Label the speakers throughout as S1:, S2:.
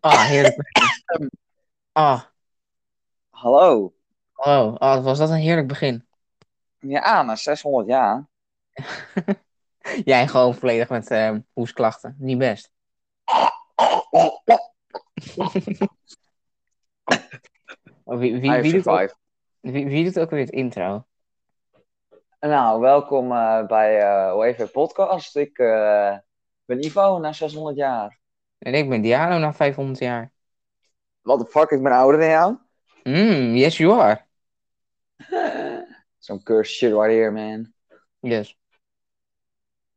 S1: Ah, heerlijk. begin. Ah,
S2: Hallo.
S1: hallo. Ah, wat was dat een heerlijk begin.
S2: Ja, na 600 jaar.
S1: Jij gewoon volledig met eh, hoesklachten. Niet best. Oh, Wie, wie,
S2: I've
S1: wie, doet ook,
S2: survived.
S1: wie, wie doet ook weer het intro?
S2: Nou, welkom eh, bij eh OEV Podcast. Ik eh, ben Ivo, na 600 jaar.
S1: En ik ben Diano na 500 jaar.
S2: What the fuck, ik ben ouder dan jou?
S1: Mm, yes, you are.
S2: Zo'n curse shit right here, man.
S1: Yes.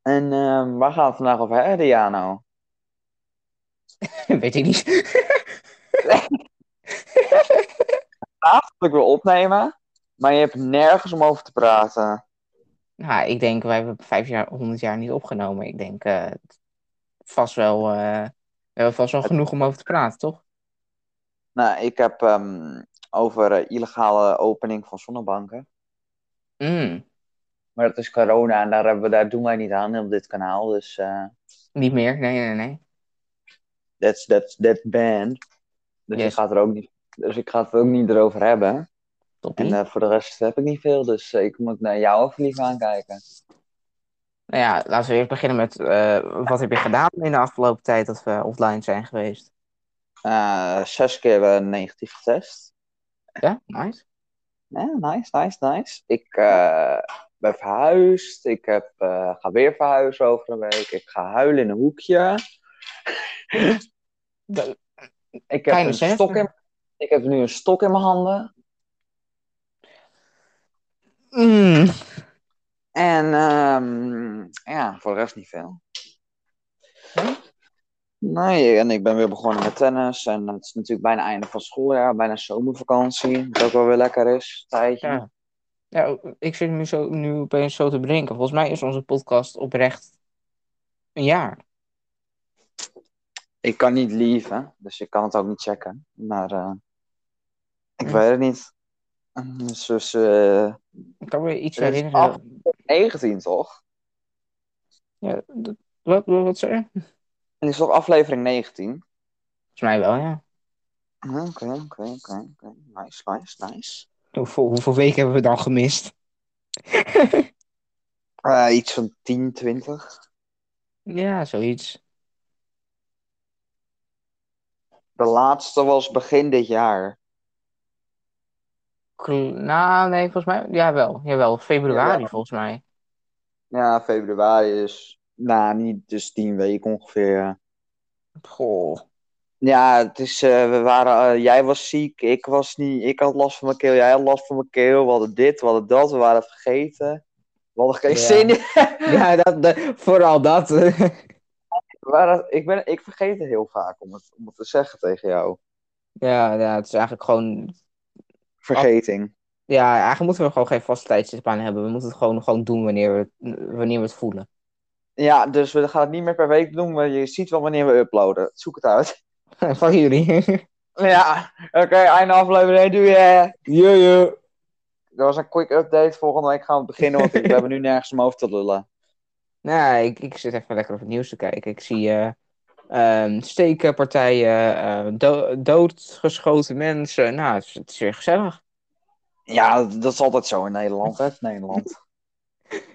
S2: En ehm, waar gaan we het vandaag over hebben, Diano?
S1: Weet ik niet.
S2: Ik wil opnemen, maar je hebt nergens om over te praten.
S1: nou, ik denk, wij hebben vijf jaar, 100 jaar niet opgenomen. Ik denk, eh, vast wel, eh, we hebben vast wel genoeg om over te praten, toch?
S2: Nou, ik heb ehm, over eh, illegale opening van zonnebanken.
S1: Mm,
S2: Maar dat is corona en daar, hebben we, daar doen wij niet aan op dit kanaal. Dus eh
S1: niet meer. Nee, nee, nee.
S2: that's, that's, that band. Dus,
S1: Yes.
S2: ik ga het er ook niet, dus ik ga het ook niet erover hebben. En
S1: Toppie.
S2: eh, voor de rest heb ik niet veel. Dus eh, ik moet naar jou even lief aankijken.
S1: Nou ja, laten we eerst beginnen met eh, wat heb je gedaan in de afgelopen tijd dat we offline zijn geweest?
S2: Eh, zes keer eh, negatief getest.
S1: Ja, nice.
S2: Ja, nice, nice, nice. Ik eh, ben verhuisd. Ik heb, eh, ga weer verhuizen over een week. Ik ga huilen in een hoekje.
S1: De-
S2: Ik heb,
S1: Kleine
S2: een
S1: zes.
S2: stok in, ik heb nu een stok in mijn handen.
S1: Mm,
S2: En ehm, ja, voor de rest niet veel.
S1: Hm?
S2: Nee, en ik ben weer begonnen met tennis. En het is natuurlijk bijna einde van het schooljaar. Bijna zomervakantie. Wat ook wel weer lekker is. Tijdje.
S1: ja. ja, ik zit nu, zo, nu opeens zo te bedenken. Volgens mij is onze podcast oprecht een jaar.
S2: Ik kan niet lieven, dus ik kan het ook niet checken. Maar eh, ik
S1: Hm.
S2: weet het niet. Dus, dus eh,
S1: Ik kan me iets
S2: Er is
S1: herinneren.
S2: af- 19 toch?
S1: Ja, d- wat, wat, wat zei je? Volgens
S2: En is toch aflevering 19?
S1: mij wel, ja.
S2: Oké, oké, oké, oké. Nice, nice, nice.
S1: Hoeveel, hoeveel weken hebben we dan gemist?
S2: Eh, iets van 10, 20.
S1: Ja, zoiets.
S2: De laatste was begin dit jaar.
S1: Kl- nou, nee, volgens mij. Jawel, jawel. Februari,
S2: Jawel.
S1: volgens mij.
S2: Ja, februari is. Nou, niet dus 10 weken ongeveer. ja.
S1: Goh.
S2: Ja, het is, eh, we waren, eh, jij was ziek, ik was niet, ik had last van mijn keel, jij had last van mijn keel, we hadden dit, we hadden dat, we waren het vergeten. We hadden geen
S1: Ja.
S2: zin in.
S1: Ja, dat, dat- vooral dat.
S2: We waren- ik, ben, ik vergeet het heel vaak om het, om het te zeggen tegen jou.
S1: Ja, ja, het is eigenlijk gewoon.
S2: Vergeting.
S1: Ja, eigenlijk moeten we gewoon geen vaste tijdstip aan hebben. We moeten het gewoon, gewoon doen wanneer we, het- wanneer we het voelen.
S2: Ja, dus we gaan het niet meer per week doen, maar je ziet wel wanneer we uploaden. Zoek het uit.
S1: Van jullie.
S2: Ja, oké, einde aflevering, doei hè.
S1: Yo, yo.
S2: Dat was een quick update, volgende week gaan we beginnen, want we hebben nu nergens om over te lullen.
S1: Nou, ik, ik zit even lekker op het nieuws te kijken. Ik zie eh, ehm, stekenpartijen, eh, do- doodgeschoten mensen. Nou, het is, het is weer gezellig.
S2: Ja, dat is altijd zo in Nederland, hè, Nederland.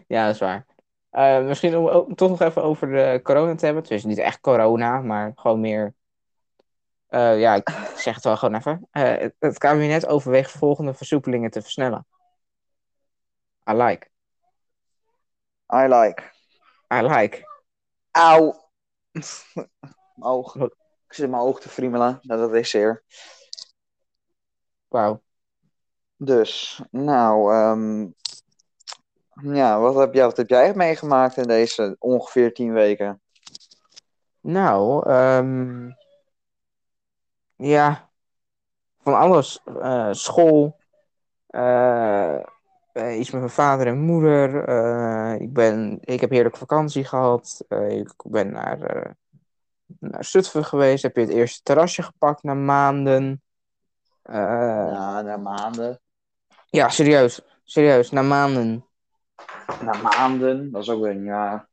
S1: Ja, dat is waar. Eh, misschien om ook toch nog even over de corona te hebben. Het is niet echt corona, maar gewoon meer. Eh, ja, ik zeg het wel gewoon even. Eh, het- het kabinet overweegt volgende versoepelingen te versnellen. I like.
S2: I like.
S1: I like.
S2: Auw. Mijn oog. Ik zit mijn oog te friemelen. Nou, dat is zeer.
S1: Wauw.
S2: Dus, nou, ehm, ja, wat heb, jij, wat heb jij meegemaakt in deze ongeveer tien weken?
S1: Nou, ehm, ja. Van alles. Eh, school. Eh, eh, iets met mijn vader en moeder. Eh, ik, ben, ik heb heerlijk vakantie gehad. Eh, ik ben naar, eh naar Zutphen geweest. Heb je het eerste terrasje gepakt na maanden. Eh,
S2: Ja, na maanden.
S1: ja, serieus. Serieus, na maanden.
S2: Na maanden, dat is ook weer een jaar.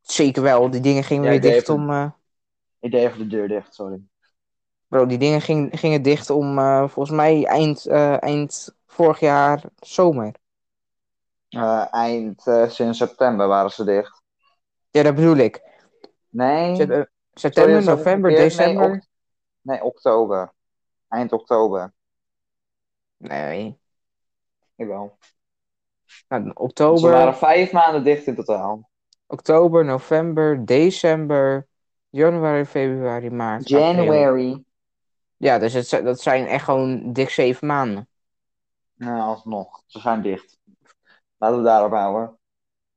S1: Zeker wel. Die dingen gingen
S2: Ja,
S1: weer
S2: ik deed
S1: dicht
S2: hem.
S1: om... eh,
S2: Ik deed even de deur dicht, sorry.
S1: Bro, die dingen ging, gingen dicht om eh, volgens mij eind, eh, eind vorig jaar zomer.
S2: Eh, eind eh, sinds september waren ze dicht.
S1: Ja, dat bedoel ik.
S2: Nee.
S1: Zet- eh,
S2: Mm. sorry,
S1: September,
S2: dat zat ik
S1: november,
S2: verkeerd.
S1: december.
S2: Nee, oct- nee, oktober. Eind oktober.
S1: Nee,
S2: Jawel.
S1: nou,
S2: Want Dus Ze
S1: oktober,
S2: waren vijf maanden dicht in totaal.
S1: oktober, november, december, januari, februari, maart. april.
S2: January.
S1: Ja, dus het, zi- dat zijn echt gewoon dik zeven maanden.
S2: Nou, alsnog. Ze zijn dicht. Laten we daarop houden.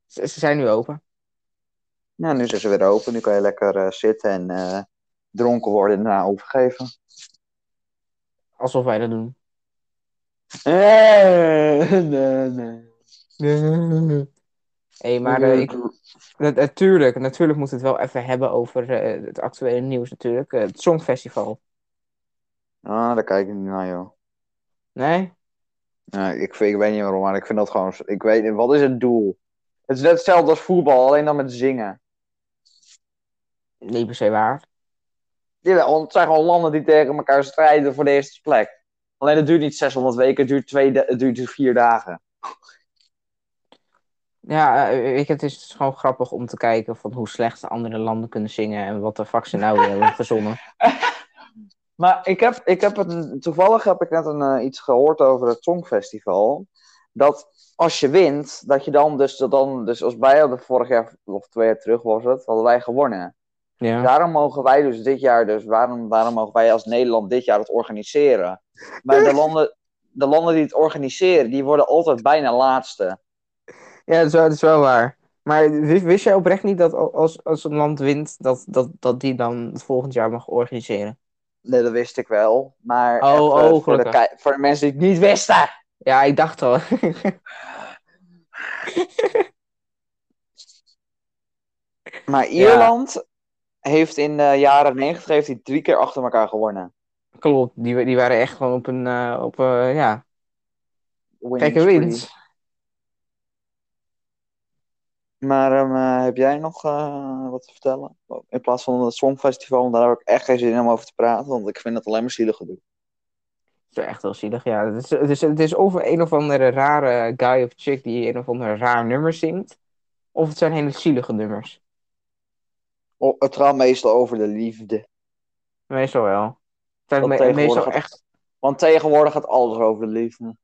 S1: Ze, ze zijn nu open.
S2: Nou, nu zijn ze weer open. Nu kan je lekker eh, zitten en eh, dronken worden en daarna overgeven.
S1: Alsof wij dat doen.
S2: Nee, Eh, nee, nee.
S1: Hé, hey, maar eh, ik, na- natuurlijk, natuurlijk moeten we het wel even hebben over eh, het actuele nieuws natuurlijk. Eh, het Songfestival.
S2: Ah, daar kijk ik niet naar, joh.
S1: Nee?
S2: Nou, ik, vind- ik weet niet waarom, maar ik vind dat gewoon... Ik weet niet, wat is het doel? Het is net hetzelfde als voetbal, alleen dan met zingen.
S1: Niet per se waar.
S2: Jawel, want het zijn gewoon landen die tegen elkaar strijden voor de eerste plek. Alleen het duurt niet 600 weken, het duurt, twee, da- het duurt vier dagen.
S1: Ja, eh, weet je, het is gewoon grappig om te kijken van hoe slecht andere landen kunnen zingen en wat de fuck ze nou weer hebben verzonnen.
S2: Maar ik heb, ik heb het, toevallig heb ik net een, eh, iets gehoord over het Songfestival. Dat als je wint, dat je dan dus, dat dan, dus als wij hadden vorig jaar, of twee jaar terug was het, hadden wij gewonnen.
S1: Ja.
S2: Daarom mogen wij dus dit jaar, dus waarom, waarom mogen wij als Nederland dit jaar het organiseren? Maar de landen, de landen die het organiseren, die worden altijd bijna laatste.
S1: Ja, dat is wel, dat is wel waar. Maar wist, wist jij oprecht niet dat al- als, als een land wint, dat, dat, dat die dan het volgend jaar mag organiseren?
S2: Nee, dat wist ik wel. Maar
S1: Oh,
S2: even
S1: oh,
S2: voor, de
S1: gelukkig.
S2: kei- voor de mensen die het niet wisten.
S1: Ja, ik dacht al.
S2: Maar Ierland heeft in de jaren 90 heeft hij drie keer achter elkaar gewonnen.
S1: Klopt, die, wa- die waren echt gewoon op een, eh, op, eh, ja,
S2: Winning
S1: kijk en
S2: spree.
S1: wint.
S2: Maar ehm, eh, heb jij nog eh, wat te vertellen? In plaats van het Songfestival, want daar heb ik echt geen zin om over te praten. Want ik vind het alleen maar zielig gedoe.
S1: Dat is echt wel zielig, ja. Het is, het, is, het is of een of andere rare guy of chick die een of ander raar nummer zingt, of het zijn hele zielige nummers.
S2: O- Oh, Het gaat meestal over de liefde.
S1: Meestal wel. Het zijn
S2: Want
S1: me-
S2: tegenwoordig
S1: meestal
S2: gaat-
S1: echt
S2: Want tegenwoordig gaat alles over de liefde.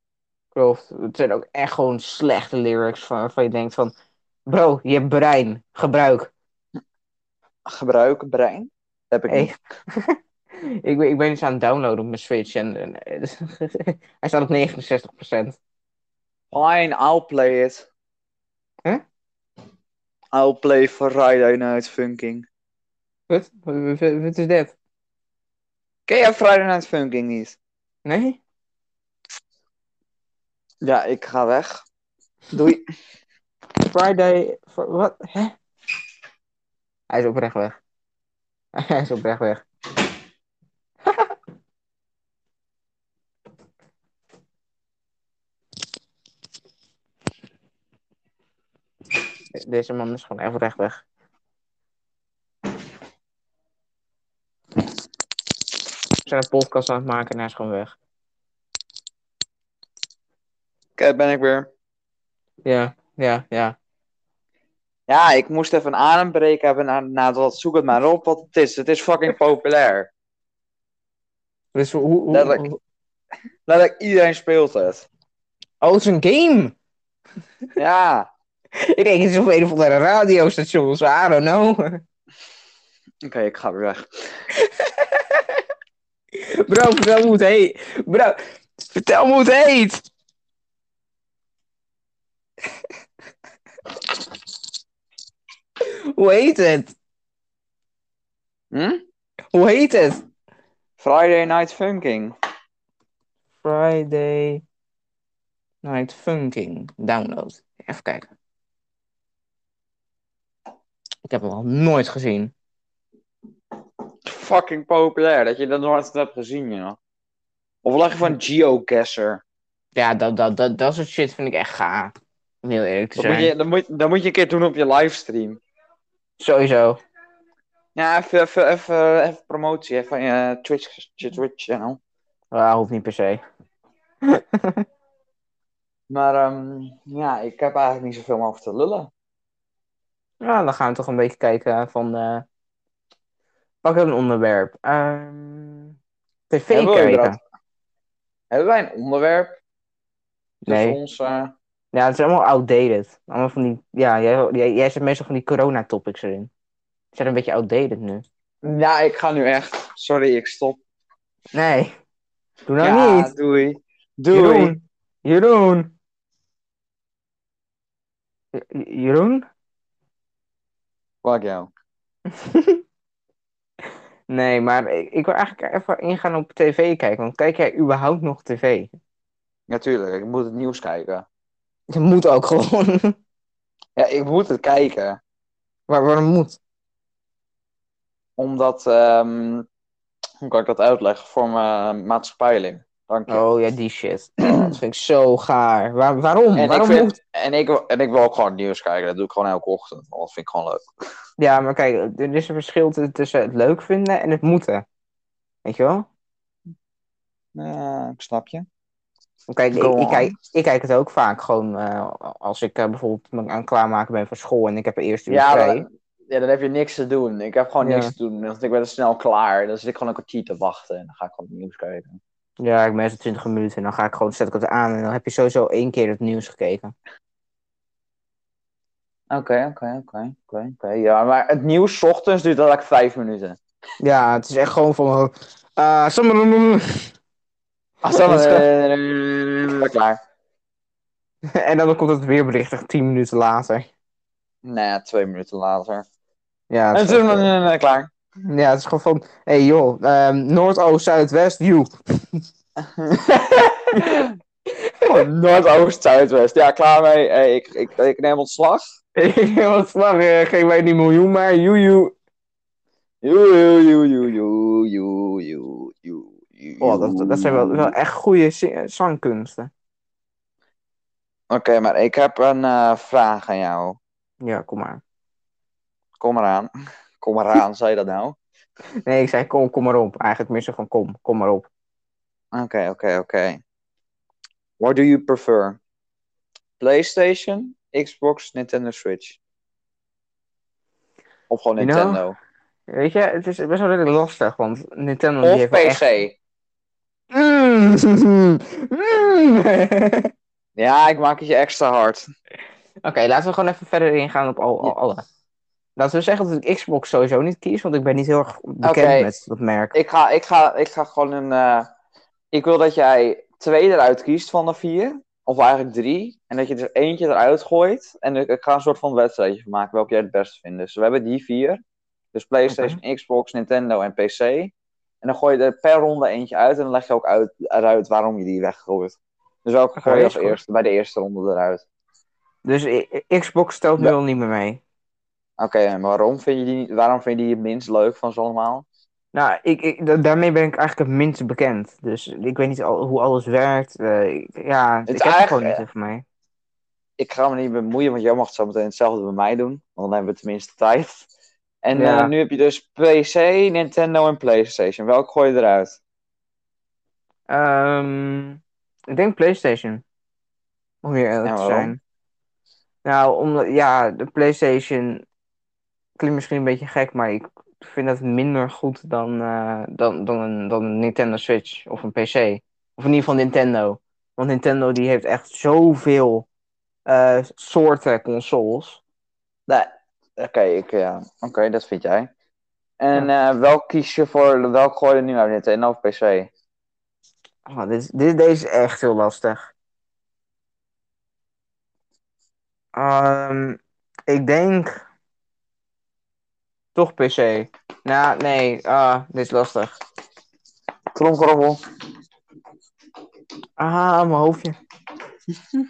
S1: Klopt. Het zijn ook echt gewoon slechte lyrics van, waarvan je denkt van... Bro, je brein. Gebruik.
S2: Gebruiken, brein. Heb ik
S1: Hey.
S2: niet.
S1: ik, ben, ik ben iets aan het downloaden op mijn Switch en... en- hij staat op 69%.
S2: Fine, I'll play it.
S1: Huh?
S2: I'll play Friday Night Funking.
S1: Wat? Wat wat is dat?
S2: Ken jij Friday Night Funking niet?
S1: Nee?
S2: Ja, ik ga weg. Doei.
S1: Friday... Fr- Wat? Hè? Hij is oprecht weg. hij is oprecht weg. Deze man is gewoon echt recht weg. We zijn een podcast aan het maken en hij is gewoon weg.
S2: Kijk, ben ik weer.
S1: Ja, ja, ja.
S2: Ja, ik moest even een adembreek hebben na, na dat zoek het maar op wat het is. Het is fucking populair.
S1: Dus hoe, hoe, hoe,
S2: Letterlijk.
S1: hoe...
S2: Letterlijk, iedereen speelt het.
S1: Oh, het is een game!
S2: Ja.
S1: Ik denk, het is op een of andere radiostation, so I don't know.
S2: Oké, ik ga weer weg.
S1: Bro, vertel me hoe het heet. Bro, vertel me hoe het heet. hoe heet het?
S2: Hm?
S1: Hoe heet het?
S2: Friday Night Funking.
S1: Friday Night Funking. Download. Even kijken. Ik heb hem al nooit gezien.
S2: Fucking populair, dat je dat nooit hebt gezien, joh. Of lag je van Geocacher?
S1: Ja, dat, dat, dat, dat soort shit vind ik echt gaaf. Om heel eerlijk te
S2: Dat moet,
S1: zijn.
S2: je, dat, moet, dat moet je een keer doen op je livestream.
S1: Sowieso.
S2: Ja, even, even, even, even promotie hè, van je Twitch, je Twitch channel.
S1: Ah, hoeft niet per se.
S2: Maar ehm, ja, ik heb eigenlijk niet zoveel meer over te lullen.
S1: Ja, dan gaan we toch een beetje kijken van... eh pak een onderwerp. Ehm, TV
S2: Hebben we
S1: kijken.
S2: überhaupt- Hebben wij een onderwerp?
S1: Nee.
S2: Dus ons, eh,
S1: Ja, het is allemaal outdated. Allemaal van die... Ja, jij, jij, jij zet meestal van die corona-topics erin. Ze zijn een beetje outdated nu.
S2: Ja, Nou, ik ga nu echt. Sorry, ik stop.
S1: Nee. Doe nou
S2: ja,
S1: niet.
S2: doei. Doei.
S1: Jeroen. Jeroen. J- Jeroen?
S2: Fuck jou.
S1: Nee, maar ik, ik wil eigenlijk even ingaan op tv kijken. Want kijk jij überhaupt nog tv?
S2: Natuurlijk, ik moet het nieuws kijken.
S1: Je moet ook gewoon.
S2: Ja, ik moet het kijken.
S1: Waar, waarom moet?
S2: Omdat, ehm, hoe kan ik dat uitleggen? Voor mijn maatschappijling. Dank je.
S1: Oh ja, die shit. Oh, dat vind ik zo gaar. Waar- waarom?
S2: en, ik
S1: waarom
S2: vind-
S1: moet?
S2: en, ik, en ik wil ook gewoon het nieuws kijken. Dat doe ik gewoon elke ochtend. Want dat vind ik gewoon leuk.
S1: Ja, maar kijk, er is een verschil t- tussen het leuk vinden en het moeten. Weet je wel?
S2: Ja, ik snap je.
S1: Kijk, ik,
S2: Go
S1: ik,
S2: on.
S1: kijk, ik kijk het ook vaak gewoon eh, als ik eh, bijvoorbeeld me aan het klaarmaken ben voor school en ik heb eerst uur
S2: Ja,
S1: vrij.
S2: dan, ja, dan heb je niks te doen. Ik heb gewoon
S1: Ja.
S2: niks te doen. Want ik ben er snel klaar. Dan zit ik gewoon een kwartier te wachten. En dan ga ik gewoon het nieuws kijken.
S1: Ja, ik ben meestal 20 minuten en dan ga ik gewoon, zet ik het aan en dan heb je sowieso één keer het nieuws gekeken.
S2: Oké, oké, oké. oké, oké. Ja, maar het nieuws 's ochtends duurt dat eigenlijk vijf minuten.
S1: Ja, het is echt gewoon van. eh sommige-
S2: Als dan
S1: Dat is
S2: eh, klaar.
S1: en dan komt het weerbericht echt 10 minuten later.
S2: Nee, twee minuten later.
S1: Ja, het
S2: En
S1: is,
S2: toen
S1: echt-
S2: eh, klaar.
S1: ja, het is gewoon van. hey joh, ehm, Noordoost, Zuidwest, you.
S2: Oh, Noordoost, Zuidwest. Ja, klaar mee. Eh, ik, ik, ik neem ontslag.
S1: Wat slag, eh, geen weet niet miljoen, maar you, you.
S2: Joe, joe, joe, joe, joe, joe, joe, joe.
S1: Oh, dat, dat zijn wel, wel echt goede zi- eh, zangkunsten.
S2: Oké, maar ik heb een eh, vraag aan jou.
S1: Ja, kom maar.
S2: Kom maar aan. Kom maar aan, zei je dat nou?
S1: Nee, ik zei kom, kom maar op. Eigenlijk meer zo van kom, kom maar op.
S2: Oké, oké, oké. What do you prefer? PlayStation, Xbox, Nintendo Switch? Of gewoon
S1: You know,
S2: Nintendo?
S1: Weet je, het is best wel redelijk lastig, want Nintendo die
S2: of
S1: heeft wel
S2: PC?
S1: echt- Mm, mm, mm. Oké,
S2: Ja, ik maak het je extra hard.
S1: laten we gewoon even verder ingaan op al, al-
S2: Ja.
S1: alle. Laten we zeggen dat ik Xbox sowieso niet kies, want ik ben niet heel erg bekend
S2: Oké.
S1: met dat merk.
S2: Ik ga, ik ga, ik ga gewoon een... eh, ik wil dat jij twee eruit kiest van de vier. Of eigenlijk drie. En dat je er eentje eruit gooit. En ik, ik ga een soort van wedstrijdje van maken welke jij het beste vindt. Dus we hebben die vier. Dus PlayStation, Xbox, Nintendo en PC. En dan gooi je er per ronde eentje uit. En dan leg je ook uit, eruit waarom je die weggooit. Dus welke
S1: Oké,
S2: gooi je als
S1: is goed.
S2: eerste, bij de eerste ronde eruit?
S1: Dus i- i- Xbox stelt nu
S2: Ja.
S1: al niet meer mee.
S2: Oké, en waarom vind je die, niet- waarom vind je die het minst leuk van ze allemaal?
S1: Nou, ik, ik, da- daarmee ben ik eigenlijk het minst bekend. Dus ik weet niet al, hoe alles werkt. eh, ik- ja, ik heb er
S2: eigenlijk-
S1: gewoon niet over mij.
S2: ik ga me niet bemoeien, want jij mag zo meteen hetzelfde bij mij doen. Want dan hebben we tenminste tijd. En
S1: Ja.
S2: eh, nu heb je dus PC, Nintendo en PlayStation. Welk gooi je eruit?
S1: Ehm, ik denk PlayStation. Om hier eerlijk
S2: En
S1: te
S2: waarom?
S1: zijn. Nou, omdat, ja, de PlayStation klinkt misschien een beetje gek, maar ik vind dat minder goed dan, eh, dan, dan, een, dan een Nintendo Switch of een PC. Of in ieder geval Nintendo. Want Nintendo die heeft echt zoveel eh, soorten consoles.
S2: Nee. Oké, ik, ja. Oké, dat vind jij. En eh, welk kies je voor, welk gooi je nu uit, Nintendo of PC?
S1: Oh, dit, dit, deze is echt heel lastig. Ehm, ik denk. Toch PC. Nou, nee, ah, dit is lastig.
S2: Tromgeroffel.
S1: Ah, mijn hoofdje.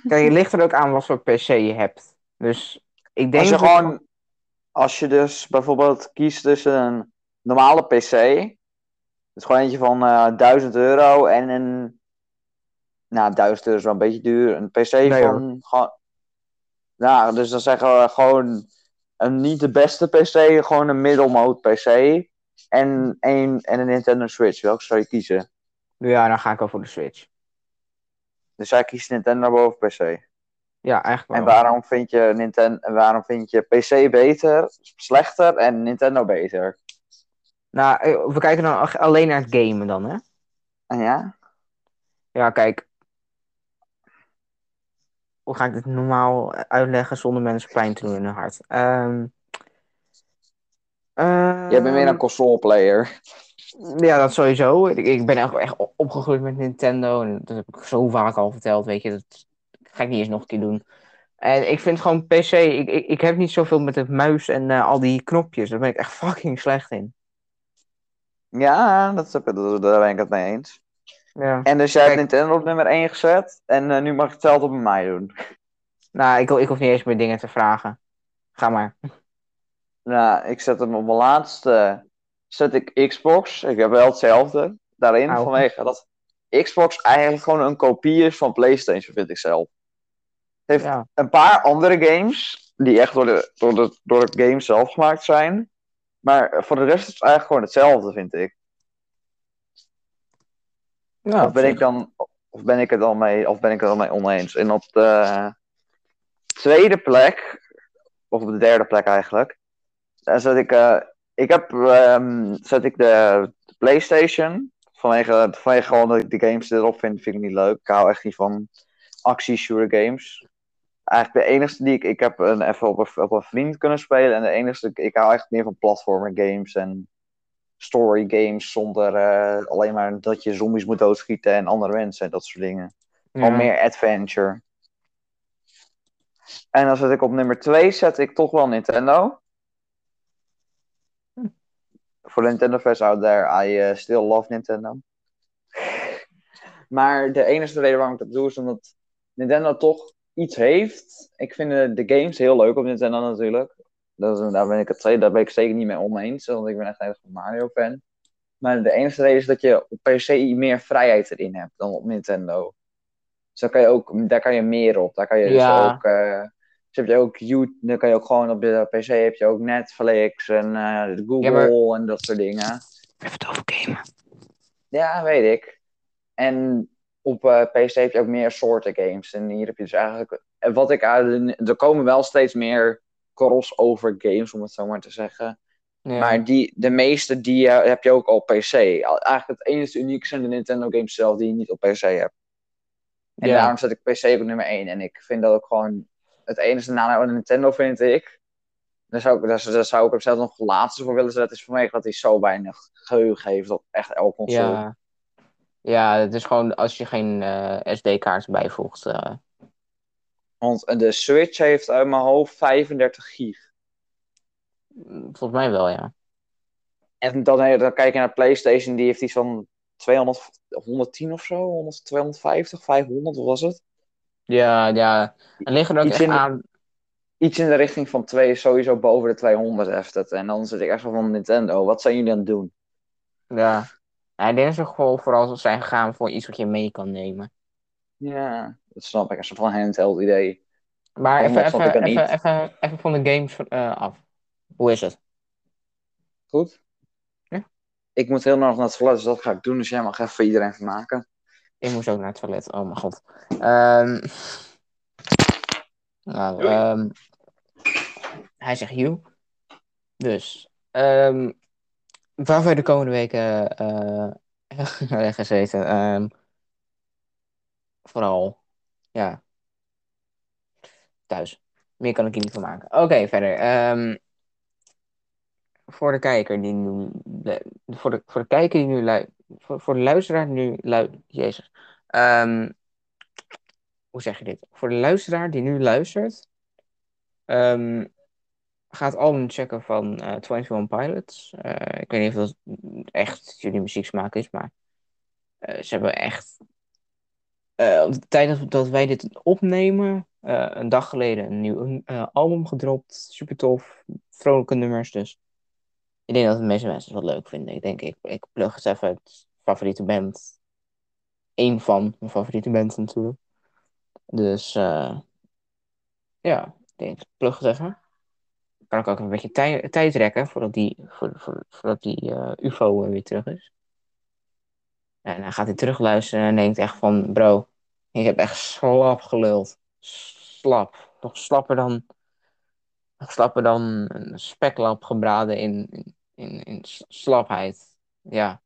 S1: Kijk, het ligt er ook aan wat voor PC je hebt. Dus ik denk.
S2: Als je
S1: dat-
S2: gewoon, als je dus bijvoorbeeld kiest tussen een normale PC, dus gewoon eentje van eh 1000 euro en een, nou 1000 euro is wel een beetje duur, een PC
S1: Nee,
S2: van gewoon, nou dus dan zeggen we gewoon een niet de beste PC, gewoon een middelmoot PC. En een, en een Nintendo Switch. Welke zou je kiezen?
S1: Ja, dan ga ik wel voor de Switch.
S2: Dus jij kiest Nintendo boven PC.
S1: Ja, eigenlijk
S2: En
S1: wel.
S2: waarom vind je, Ninten en waarom vind je PC beter, slechter en Nintendo beter?
S1: Nou, eh, we kijken dan ach- alleen naar het gamen dan, hè?
S2: En Ah, ja?
S1: Ja, kijk. Hoe ga ik dit normaal uitleggen zonder mensen pijn te doen in hun hart? Ehm
S2: Jij bent meer
S1: ehm,
S2: een console player.
S1: Ja, dat sowieso. Ik, ik ben echt, echt o- opgegroeid met Nintendo. En dat heb ik zo vaak al verteld, weet je. Dat ga ik niet eens nog een keer doen. En ik vind gewoon PC... Ik, ik, ik heb niet zoveel met het muis en eh, al die knopjes. Daar ben ik echt fucking slecht in.
S2: Ja, dat, heb, dat, daar ben ik het mee eens.
S1: Ja.
S2: En dus jij hebt
S1: Kijk.
S2: Nintendo op nummer 1 gezet. En eh, nu mag je hetzelfde bij mij doen.
S1: Nou, ik, ho- ik hoef niet eens meer dingen te vragen. Ga maar.
S2: Nou, ik zet hem op mijn laatste. Zet ik Xbox. Ik heb wel hetzelfde daarin.
S1: Au.
S2: Vanwege dat Xbox eigenlijk gewoon een kopie is van PlayStation, vind ik zelf. Heeft-
S1: Ja.
S2: Een paar andere games, die echt door de, door de, door de game zelf gemaakt zijn. Maar voor de rest is het eigenlijk gewoon hetzelfde, vind ik.
S1: Ja,
S2: of, ben ik dan, of ben ik het dan mee, of ben ik het dan mee oneens? En op de tweede plek, of op de derde plek eigenlijk, daar zet ik, eh, ik heb, ehm, zet ik de, de PlayStation. Vanwege, vanwege gewoon dat ik de games die erop vind, vind ik niet leuk. Ik hou echt niet van actie-shooter games. Eigenlijk de enige die ik, ik heb een, even op een, op een vriend kunnen spelen. En de enige, ik hou echt meer van platformer games en story games zonder eh, alleen maar dat je zombies moet doodschieten en andere mensen en dat soort dingen. Al
S1: Ja.
S2: meer adventure. En dan zet ik op nummer 2 zet ik toch wel Nintendo.
S1: Hm.
S2: Voor de Nintendo fans out there, I eh, still love Nintendo. maar de enige reden waarom ik dat doe is omdat Nintendo toch iets heeft. Ik vind eh, de games heel leuk op Nintendo natuurlijk. Dat is, daar, ben ik het, ze- daar ben ik zeker niet mee oneens, want ik ben echt een hele grote Mario fan. Maar de enige reden is dat je op se meer vrijheid erin hebt dan op Nintendo. Dus daar kan je ook daar kan je meer op. Daar kan je dus
S1: Ja.
S2: ook. eh, dus heb je ook YouTube, dan kan je ook gewoon op de PC heb je ook Netflix en eh, Google en dat soort dingen.
S1: Even het over gamen.
S2: Ja, weet ik. En op eh, PC heb je ook meer soorten games. En hier heb je dus eigenlijk. en Wat ik uit. de- Er komen wel steeds meer crossover games, om het zo maar te zeggen.
S1: Ja.
S2: Maar die, de meeste die eh, heb je ook op PC. Al- Eigenlijk het enige uniek zijn de Nintendo games zelf die je niet op PC hebt. En
S1: Ja.
S2: daarom zet ik PC op nummer 1. En ik vind dat ook gewoon. Het enige nadeel aan Nintendo vind ik. Daar zou ik, daar, zou- daar zou ik hem zelf nog laatste voor willen zetten. Is vanwege dat hij zo weinig geheugen heeft op echt elk console.
S1: Ja. ja, het is gewoon als je geen SD-kaart bijvoegt. eh,
S2: Want de Switch heeft uit mijn hoofd 35 gig.
S1: volgens mij wel, ja.
S2: En dan, dan kijk je naar de PlayStation, die heeft iets van 200, 110 of zo, 100, 250, 500, wat was het?
S1: Ja, ja. Het ligt er ook
S2: Iets
S1: echt
S2: in de-
S1: aan.
S2: Iets in de richting van twee, sowieso boven de 200 heeft het. En dan zit ik echt zo van Nintendo, wat zijn jullie aan het doen?
S1: Ja. Ja, ik denk dat ze gewoon vooral zijn gegaan voor iets wat je mee kan nemen.
S2: Ja, dat snap ik, een soort van handheld idee.
S1: Maar
S2: Anders
S1: even,
S2: had ik
S1: even,
S2: het
S1: even,
S2: niet.
S1: even, even van de games eh, af. Hoe is het?
S2: Goed?
S1: Ja.
S2: Ik moet heel nog naar het toilet, dus dat ga ik doen. Dus jij mag even iedereen van maken.
S1: Ik moest ook naar het toilet. Oh mijn god. Ehm, nou,
S2: Doei.
S1: ehm, hij zegt Hugh. Dus, ehm, waar wij de komende weken eh gezeten. ehm, vooral, ja, thuis. Meer kan ik hier niet van maken. Oké, verder. ehm, voor de kijker die nu. lu- Voor de, voor de kijker die nu luistert. Voor, voor de luisteraar die nu luistert. Jezus. Ehm, hoe zeg je dit? Voor de luisteraar die nu luistert. ehm, ga het album checken van eh 21 Pilots. Eh, ik weet niet of dat echt jullie muzieksmaak is, maar eh, ze hebben echt. eh, op de tijd dat- dat wij dit opnemen, eh, een dag geleden een nieuw eh, album gedropt. Super tof. Vrolijke nummers, dus. Ik denk dat de meeste mensen het wel leuk vinden. Ik denk, ik, ik plug het even het favoriete band. Eén van mijn favoriete bands natuurlijk. Dus eh, ja, ik denk, plug het even. kan ik ook een beetje tij- tijd rekken voordat die, voor, voor, voordat die eh, UFO weer terug is. En dan gaat hij terugluisteren en denkt echt van, bro, ik heb echt slap geluld. Slap. Nog slapper dan, nog slapper dan een speklap gebraden in, in, in, in s- slapheid. Ja.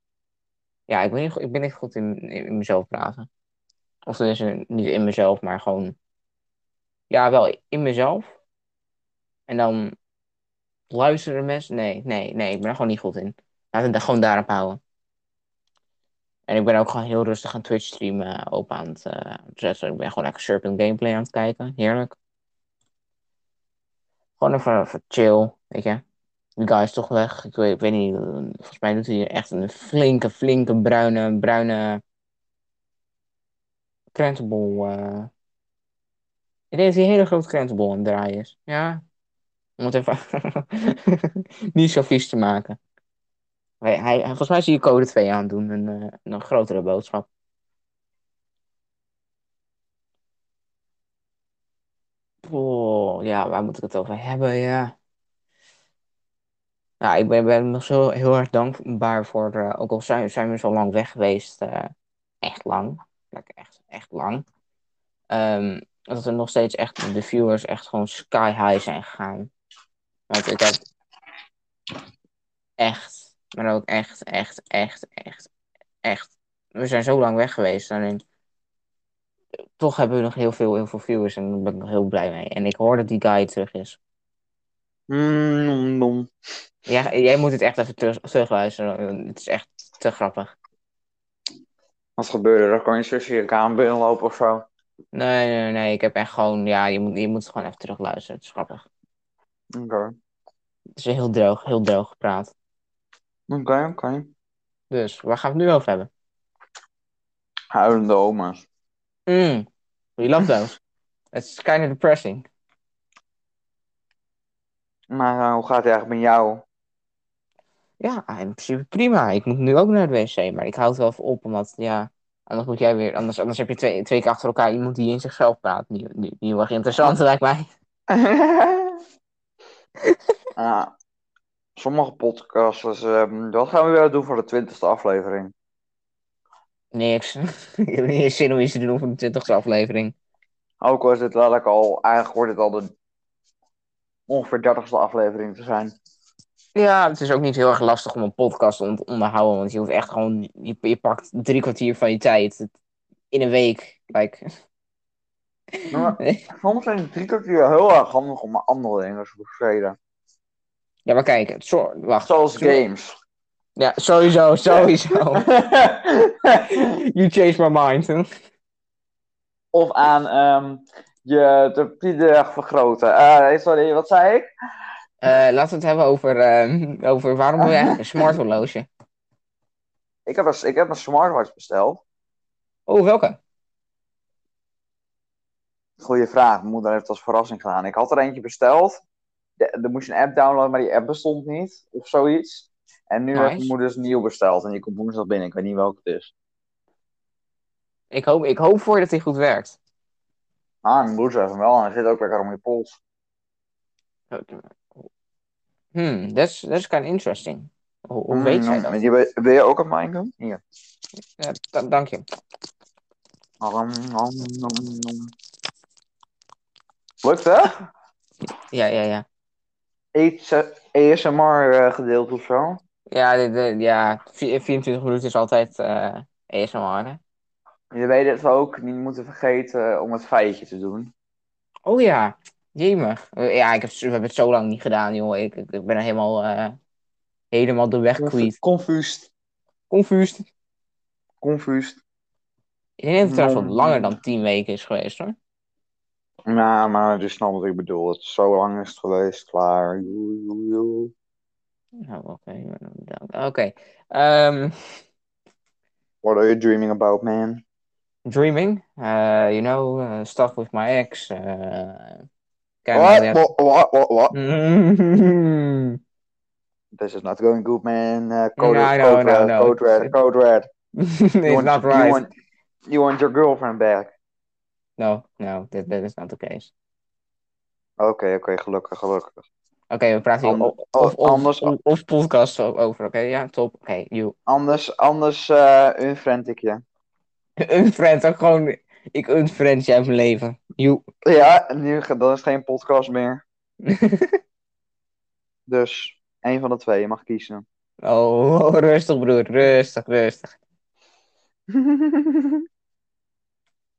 S1: Ja, ik ben niet, go- ik ben niet goed in, in, in mezelf praten. Of tenminste, niet in mezelf, maar gewoon... Ja, wel in mezelf. En dan luisteren mensen. Nee, nee, nee, ik ben er gewoon niet goed in. Laten we het gewoon daarop houden. En ik ben ook gewoon heel rustig aan Twitch streamen open aan het eh, aan het zetten. Ik ben gewoon lekker Serpent gameplay aan het kijken. Heerlijk. Gewoon even, even chill, weet je. Die guy is toch weg. Ik weet, ik weet niet, eh, volgens mij doet hij echt een flinke, flinke bruine, bruine krentenbol. eh. Ik denk dat hij een hele grote krentenbol aan het draaien is. Ja, om het even niet zo vies te maken. Hij, hij, hij- volgens mij zie je code 2 aandoen, een, eh, een grotere boodschap. Oh, ja, waar moet ik het over hebben? Ja. Nou, ik ben, ben nog zo heel erg dankbaar voor, eh, ook al zijn, zijn we zo lang weg geweest, eh, echt lang, Like, echt, echt lang, Ehm, dat er nog steeds echt de viewers echt gewoon sky high zijn gegaan. Want ik heb echt, maar ook echt, echt, echt, echt, echt. We zijn zo lang weg geweest. Alleen, toch hebben we nog heel veel, heel veel viewers en daar ben ik nog heel blij mee. En ik hoor dat die guy terug is.
S2: Mm, nom, nom.
S1: Jij, jij moet het echt even terug, terugluisteren. want Het is echt te grappig.
S2: Wat gebeurde er? Dan kan je zusje je kamer binnenlopen of zo.
S1: Nee, nee, nee. Ik heb echt gewoon, ja, je moet, je moet het gewoon even terugluisteren. Het is grappig.
S2: Oké, oké,
S1: Het is heel droog, heel droog gepraat.
S2: oké.
S1: Dus, waar gaan we het nu over hebben?
S2: Huilende oma's.
S1: Mm, we love those. It's kind of depressing.
S2: Maar eh, hoe gaat het eigenlijk met jou?
S1: Ja, in principe prima. Ik moet nu ook naar het wc, maar ik houd wel even op, omdat ja, anders moet jij weer, anders, anders heb je twee, twee keer achter elkaar iemand die in zichzelf praat. Niet, niet, niet heel erg interessant, lijkt mij.
S2: Ah, sommige podcasters, ehm wat gaan we weer doen voor de twintigste aflevering?
S1: Niks. ik heb niet eens zin om iets te doen voor de twintigste aflevering.
S2: Ook al is dit letterlijk al, eigenlijk hoort dit al de ongeveer dertigste aflevering te zijn.
S1: Ja, het is ook niet heel erg lastig om een podcast te on- onderhouden, want je hoeft echt gewoon, je, je pakt drie kwartier van je tijd in een week. Like.
S2: Ja. Soms zijn die drie kwartier heel erg handig om andere dingen te besteden.
S1: Ja, maar kijk, het soort- wacht.
S2: Zoals games.
S1: Ja, sowieso, sowieso. you changed my mind.
S2: of aan ehm, je topide vergroten. Eh, sorry, wat zei ik?
S1: Eh, laten we het hebben over, eh, over waarom wil je eigenlijk een smart horloge?
S2: Ik heb, een, ik heb een smartwatch besteld.
S1: Oh, welke?
S2: Goeie vraag. Mijn moeder heeft het als verrassing gedaan. Ik had er eentje besteld. De- Er moest je een app downloaden, maar die app bestond niet. Of zoiets. En nu
S1: Nice.
S2: heeft mijn moeder dus een nieuw besteld. En die komt woensdag binnen. Ik weet niet welke het is.
S1: Ik hoop, ik hoop voor je dat hij goed werkt.
S2: Ah, mijn moeder heeft hem wel. En hij zit ook lekker om je pols.
S1: Hmm, that's, that's kind of interesting. Hoe, hoe Hmm, nou,
S2: Mm,
S1: weet jij
S2: mm.
S1: dat?
S2: Die wil- wil je ook aan mij doen? Hier.
S1: Ja, da- dank je.
S2: Om, om, om, om. Lukt hè?
S1: Ja, ja, ja.
S2: Iets, eh, ASMR eh, gedeeld of zo?
S1: Ja, de, de- ja vi- 24 minuten is altijd eh ASMR, hè?
S2: Je weet dat we ook niet moeten vergeten om het feitje te doen.
S1: Oh ja, jemig. Eh, Ja, ik heb, we hebben het zo lang niet gedaan, joh. Ik, ik, ik ben er helemaal, eh, helemaal de weg kwijt.
S2: Confused.
S1: Confused.
S2: Confused.
S1: Ik denk dat het trouwens wat
S2: Mm.
S1: langer dan 10 weken is geweest, hoor.
S2: Nou, maar je snapt wat ik bedoel. Het is zo lang is het geweest, klaar. Joe, joe, joe.
S1: Nou, oké. bedankt. Oké. Ehm,
S2: What are you dreaming about, man?
S1: dreaming. Uh, you know, uh, stuff with my ex. Uh,
S2: What? What? What? What? what?
S1: Mm.
S2: This is not going good, man. Uh, code,
S1: No,
S2: red,
S1: no,
S2: code,
S1: no,
S2: red,
S1: no.
S2: code red, code red. You
S1: It's
S2: want-
S1: not
S2: You
S1: right.
S2: want, you want your girlfriend back.
S1: No, no, that, that is not the case.
S2: Oké, oké, gelukkig, gelukkig.
S1: we praten hier
S2: Ander-
S1: o- of, of,
S2: anders-
S1: of, of podcast o- over. Oké, ja, top. Oké, joe.
S2: Anders, anders eh unfriend ik je.
S1: Unfriend, ook gewoon. Ik unfriend jij uit mijn leven. Joe.
S2: Ja, nu, ge- dan is het geen podcast meer. Dus één van de twee, je mag kiezen.
S1: Oh, oh, rustig broer, rustig, rustig.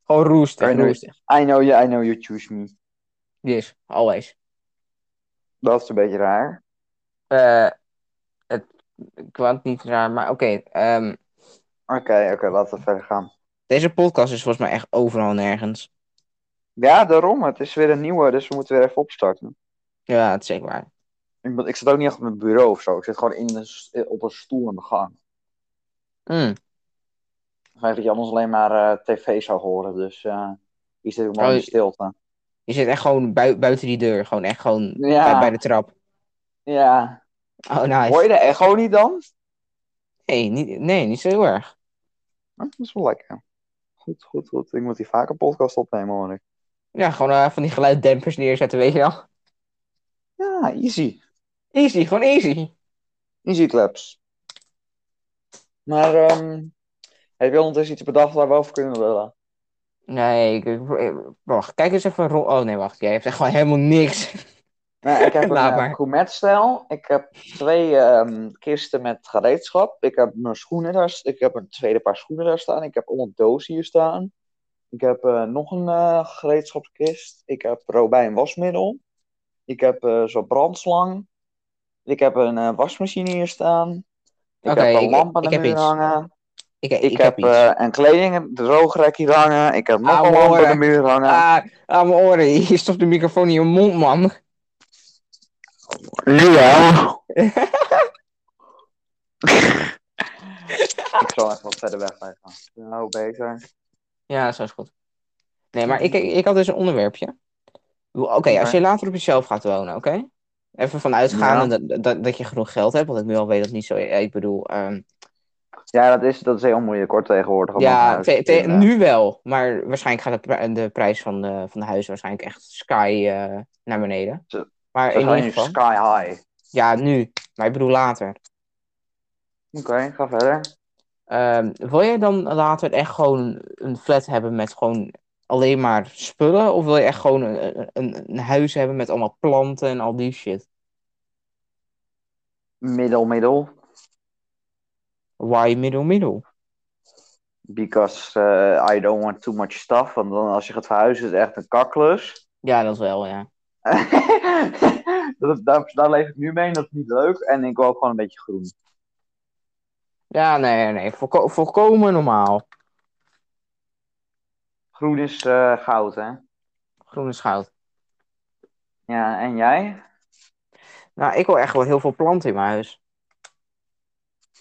S1: Gewoon roestig,
S2: Kan je-
S1: roestig.
S2: I know you, I know you choose me.
S1: Yes, always.
S2: Dat is een beetje raar.
S1: Eh, het, ik wou het niet raar, maar oké. ehm,
S2: Oké, oké, laten we verder gaan.
S1: deze podcast is volgens mij echt overal nergens.
S2: Ja, daarom. Het is weer een nieuwe, dus we moeten weer even opstarten.
S1: Ja, dat is zeker waar.
S2: Ik, ben- ik zit ook niet echt op mijn bureau of zo. Ik zit gewoon in de, s- eh, op een stoel in de gang.
S1: Mm.
S2: Ik weet dat je anders alleen maar eh, tv zou horen, dus eh hier zit ik maar
S1: Oh,
S2: in de
S1: je-
S2: stilte.
S1: Je zit echt gewoon bui- buiten die deur. Gewoon echt gewoon bij, bij
S2: Ja,
S1: de trap.
S2: ja.
S1: Oh, nice.
S2: Hoor je de echo niet dan?
S1: Nee, niet, nee, niet zo heel erg.
S2: Hm, dat is wel lekker. Goed, goed, goed. Ik moet hier vaker podcast opnemen, hoor ik.
S1: Ja, gewoon eh, van die geluiddempers neerzetten, weet je wel.
S2: Ja, easy.
S1: Easy, gewoon easy.
S2: Easy claps. Maar ehm heb je ondertussen iets bedacht waar we over kunnen willen?
S1: Nee, ik, ik- ik- wacht, kijk eens even rond. Oh nee, wacht, jij hebt echt gewoon helemaal niks.
S2: Nou, ik heb een
S1: Laat
S2: eh,
S1: maar.
S2: gourmetstel. Ik heb twee ehm, kisten met gereedschap. Ik heb mijn schoenen daar. st- Ik heb een tweede paar schoenen daar staan. Ik heb allemaal dozen hier staan. Ik heb eh, nog een eh, gereedschapskist. Ik heb Robijn wasmiddel. Ik heb eh, zo'n brandslang. Ik heb een eh, wasmachine hier staan. Ik
S1: Oké,
S2: heb een
S1: ik-
S2: lamp aan de
S1: ik heb
S2: muur
S1: iets.
S2: hangen.
S1: Ik,
S2: Ik, heb,
S1: iets.
S2: eh, een kleding, een droogrek hier hangen. Ik heb nog
S1: Ah,
S2: een lamp aan
S1: mooi.
S2: de muur hangen.
S1: Ah, aan mijn oren. Je stopt de microfoon in je mond, man.
S2: Nu ja. ik zal even wat verder weg blijven. Nou, beter.
S1: Ja, zo is goed. Nee, maar ik, ik had dus een onderwerpje. Oké, als
S2: Oké.
S1: je later op jezelf gaat wonen, oké? Even vanuitgaande dat, dat, dat je genoeg geld hebt, want ik nu al weet dat het niet zo... Ik bedoel, ehm,
S2: Ja, dat is, dat is heel moeilijk hoor tegenwoordig. om een
S1: ja,
S2: huis
S1: te-
S2: te
S1: te-
S2: vinden.
S1: nu wel. Maar waarschijnlijk gaat de, pri- de prijs van de, van de huizen waarschijnlijk echt sky eh, naar beneden.
S2: Ze-
S1: Maar
S2: Ze
S1: in
S2: eh, gaan
S1: ieder
S2: nu
S1: geval...
S2: sky high.
S1: Ja, nu. Maar ik bedoel later.
S2: Oké, ga verder.
S1: Ehm, wil jij dan later echt gewoon een flat hebben met gewoon alleen maar spullen? Of wil je echt gewoon een, een, een huis hebben met allemaal planten en al die shit?
S2: Middel, middel.
S1: Why middle middle?
S2: Because eh, I don't want too much stuff. Want dan als je gaat verhuizen is het echt een kakkelus.
S1: Ja, dat wel, ja.
S2: dat, daar, daar leef ik nu mee en dat is niet leuk. En ik wil ook gewoon een beetje groen.
S1: Ja, nee, nee, volko- volkomen normaal.
S2: Groen is eh, goud, hè?
S1: Groene schout.
S2: Ja, en jij?
S1: Nou, ik wil echt wel heel veel planten in mijn huis.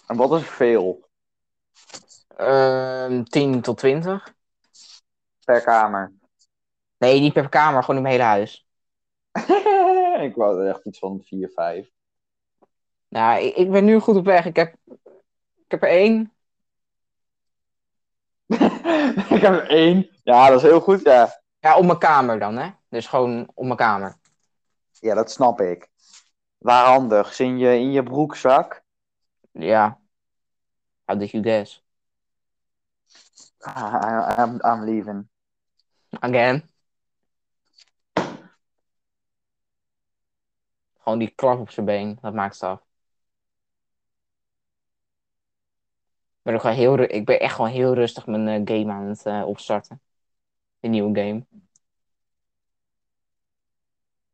S2: En wat is veel
S1: Ehm 10 tot 20?
S2: per kamer?
S1: Nee, niet per kamer, gewoon in mijn hele huis.
S2: ik wou er echt iets van 4, 5.
S1: Nou, ik, ik ben nu goed op weg. Ik heb, ik heb er één.
S2: ik heb er één. Ja, dat is heel goed, ja.
S1: Ja, op mijn kamer dan, hè? Dus gewoon op mijn kamer.
S2: Ja, dat snap ik. Waar handig? Zin je in je broekzak?
S1: Ja. How did you guess?
S2: Ah, I'm, I'm leaving.
S1: Again. Gewoon die klap op zijn been, dat maakt het af. Ik ben, ook gewoon heel, ru- ik ben echt gewoon heel rustig mijn eh, game aan het eh, opstarten. De nieuwe game.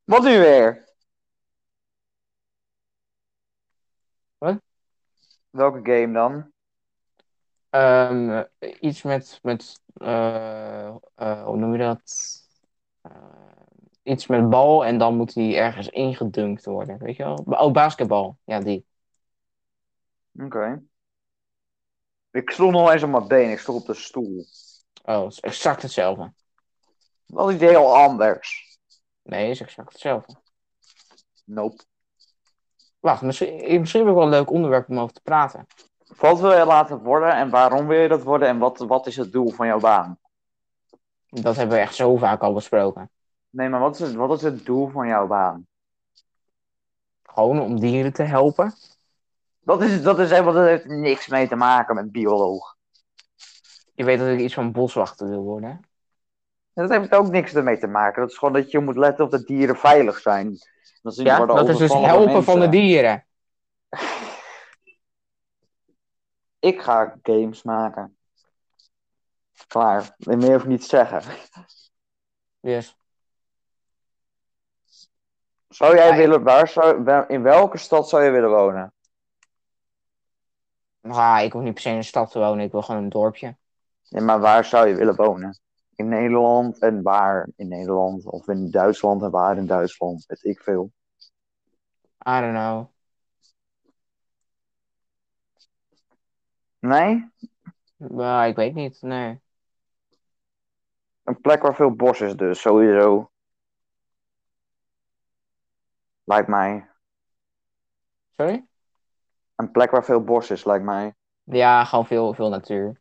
S2: Wat nu weer?
S1: Wat?
S2: Welke game dan?
S1: Ehm, eh, iets met, met eh, eh, hoe noem je dat? Eh, iets met bal en dan moet die ergens ingedunkt worden, weet je wel? Oh, basketbal. Ja, die.
S2: Oké. Ik stond nog eens op mijn been. Ik stond op de stoel.
S1: Oh, het is exact hetzelfde.
S2: Dat is heel anders.
S1: Nee, het is exact hetzelfde.
S2: Nope.
S1: Wacht, misschien, misschien heb ik wel een leuk onderwerp om over te praten.
S2: Wat wil je laten worden en waarom wil je dat worden en wat, wat is het doel van jouw baan?
S1: Dat hebben we echt zo vaak al besproken.
S2: Nee, maar wat is het, wat is het doel van jouw baan?
S1: gewoon om dieren te helpen.
S2: Dat, is, dat, is helemaal, dat heeft niks mee te maken met bioloog.
S1: Je weet dat ik iets van boswachter wil worden. hè?
S2: En dat heeft ook niks ermee te maken. Dat is gewoon dat je moet letten op dat dieren veilig zijn. Dan zien
S1: Ja,
S2: worden
S1: dat is dus
S2: overvallen door
S1: helpen van de
S2: mensen.
S1: dieren.
S2: Ik ga games maken. Klaar. En meer hoef ik niet te zeggen.
S1: Yes.
S2: Zou jij
S1: Ja,
S2: willen, waar zou, wel- in welke stad zou je willen wonen?
S1: Ah, ik hoef niet per se in een stad te wonen, ik wil gewoon een dorpje.
S2: Ja, maar waar zou je willen wonen? In Nederland en waar in Nederland? Of in Duitsland en waar in Duitsland? Weet ik veel.
S1: I don't know.
S2: Nee?
S1: Maar Nou, ik weet niet, nee.
S2: Een plek waar veel bos is dus, sowieso. Lijkt mij.
S1: Sorry?
S2: Een plek waar veel bos is, lijkt mij.
S1: Ja, gewoon veel, veel natuur.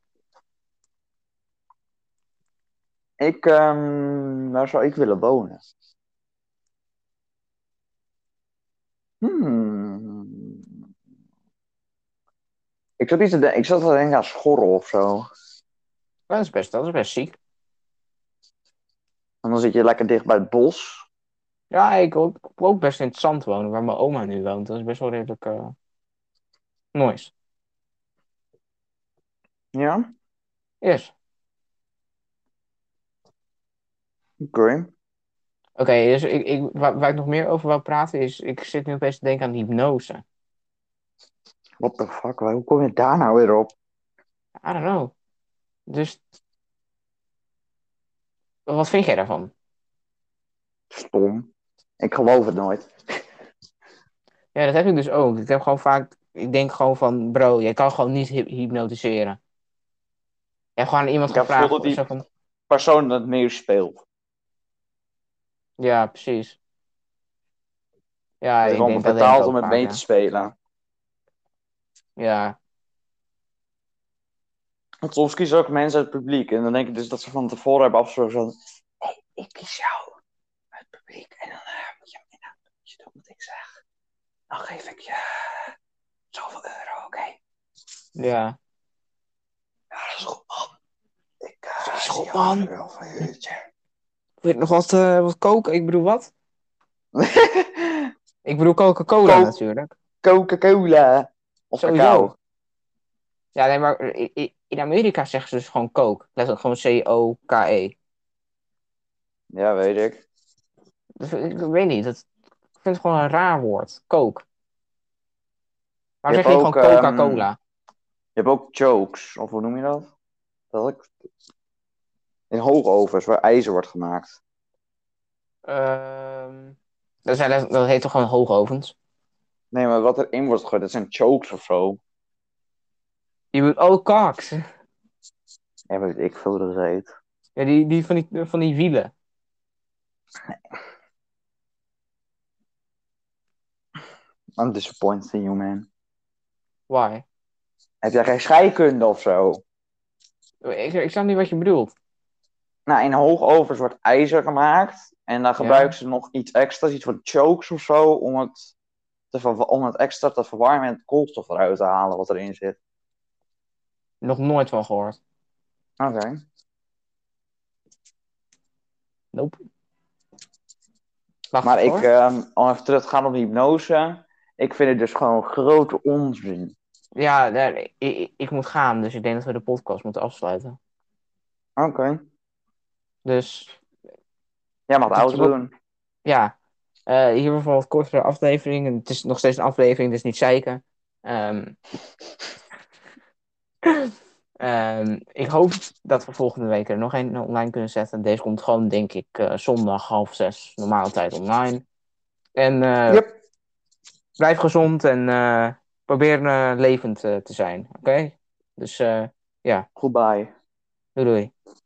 S2: Ik, ehm, waar zou ik willen wonen? Hmm. Ik zat iets te denken, ik zat te denken aan Schorrel of zo.
S1: Dat is best, dat is best ziek.
S2: En dan zit je lekker dicht bij het bos.
S1: Ja, ik wil ik wil ook best in het zand wonen, waar mijn oma nu woont. Dat is best wel redelijk eh nice.
S2: Ja,
S1: Yes.
S2: oké.
S1: Oké, dus ik, ik, waar, waar ik nog meer over wil praten is, ik zit nu opeens te denken aan hypnose.
S2: What the fuck, waar- hoe kom je daar nou weer op?
S1: I don't know. Dus, wat vind jij daarvan?
S2: Stom. Ik geloof het nooit.
S1: Ja, dat heb ik dus ook. Ik heb gewoon vaak, ik denk gewoon van, bro, jij kan gewoon niet hy- hypnotiseren. Je hebt gewoon aan iemand
S2: Ik heb
S1: gevraagd.
S2: vooral die-
S1: zo van,
S2: Persoon dat nieuws speelt.
S1: ja, precies. Ja,
S2: Hij is
S1: ik denk
S2: gewoon
S1: dat denk ik
S2: betaald
S1: ook
S2: om het
S1: vaak,
S2: mee
S1: ja.
S2: te spelen.
S1: Ja,
S2: Want soms kiezen ook mensen uit het publiek. En dan denk ik dus dat ze van tevoren hebben afgesproken van... "Hey, ik kies jou uit het publiek. En dan eh, moet je, en dan moet je doen wat ik zeg. Dan geef ik je zoveel euro, oké?
S1: ja.
S2: Ja, dat is goed, man. Ik eh,
S1: Dat is
S2: zie
S1: goed,
S2: je
S1: man.
S2: over wel van je uurtje.
S1: Wil je nog wat, eh, wat koken? Ik bedoel, wat? Ik bedoel Coca-Cola
S2: Coke.
S1: natuurlijk.
S2: Coca-Cola. Of
S1: Sowieso.
S2: cacao.
S1: Ja, nee, maar i- i- in Amerika zeggen ze dus gewoon Coke. Letterlijk gewoon C-O-K-E.
S2: Ja, weet ik.
S1: Dus ik, ik weet niet, dat, ik vind het gewoon een raar woord. Coke. Maar
S2: Je
S1: zeg je
S2: hebt
S1: gewoon
S2: ook, ehm,
S1: Coca-Cola?
S2: Je hebt ook jokes. Of hoe noem je dat? Dat ik... In hoogovens, waar ijzer wordt gemaakt.
S1: Ehm, dat, zijn, dat dat heet toch gewoon hoogovens?
S2: Nee, maar wat erin wordt gegooid, dat zijn chokes of zo.
S1: Je moet, oh, kaks.
S2: Ja, weet ik veel hoe dat heet.
S1: Ja, die, die, van die van die wielen.
S2: I'm disappointed in you, man.
S1: Why?
S2: Heb jij geen scheikunde of zo?
S1: Ik, ik snap niet wat je bedoelt.
S2: Nou, in hoogovens wordt ijzer gemaakt. En dan gebruiken ze nog iets extra's, iets van chokes of zo, om het, te ver- om het extra te verwarmen en het koolstof eruit te halen wat erin zit.
S1: Nog nooit van gehoord.
S2: Oké.
S1: Nope. Wacht
S2: Maar ik,
S1: hoor.
S2: ehm om even terug te gaan op die hypnose. Ik vind het dus gewoon grote onzin.
S1: Ja, daar- ik, ik, ik moet gaan, dus ik denk dat we de podcast moeten afsluiten.
S2: Oké.
S1: Dus
S2: Jij mag het
S1: Dat
S2: oud
S1: klopt.
S2: doen.
S1: ja, Eh hier was wel wat kortere aflevering. En het is nog steeds een aflevering, dus niet zeiken. Ehm, ehm, ik hoop dat we volgende week er nog een online kunnen zetten. Deze komt gewoon, denk ik, eh, zondag half zes, normale tijd online. En eh,
S2: Yep.
S1: blijf gezond en eh, probeer eh, levend eh, te zijn, oké? Dus eh,
S2: Goodbye.
S1: doei doei.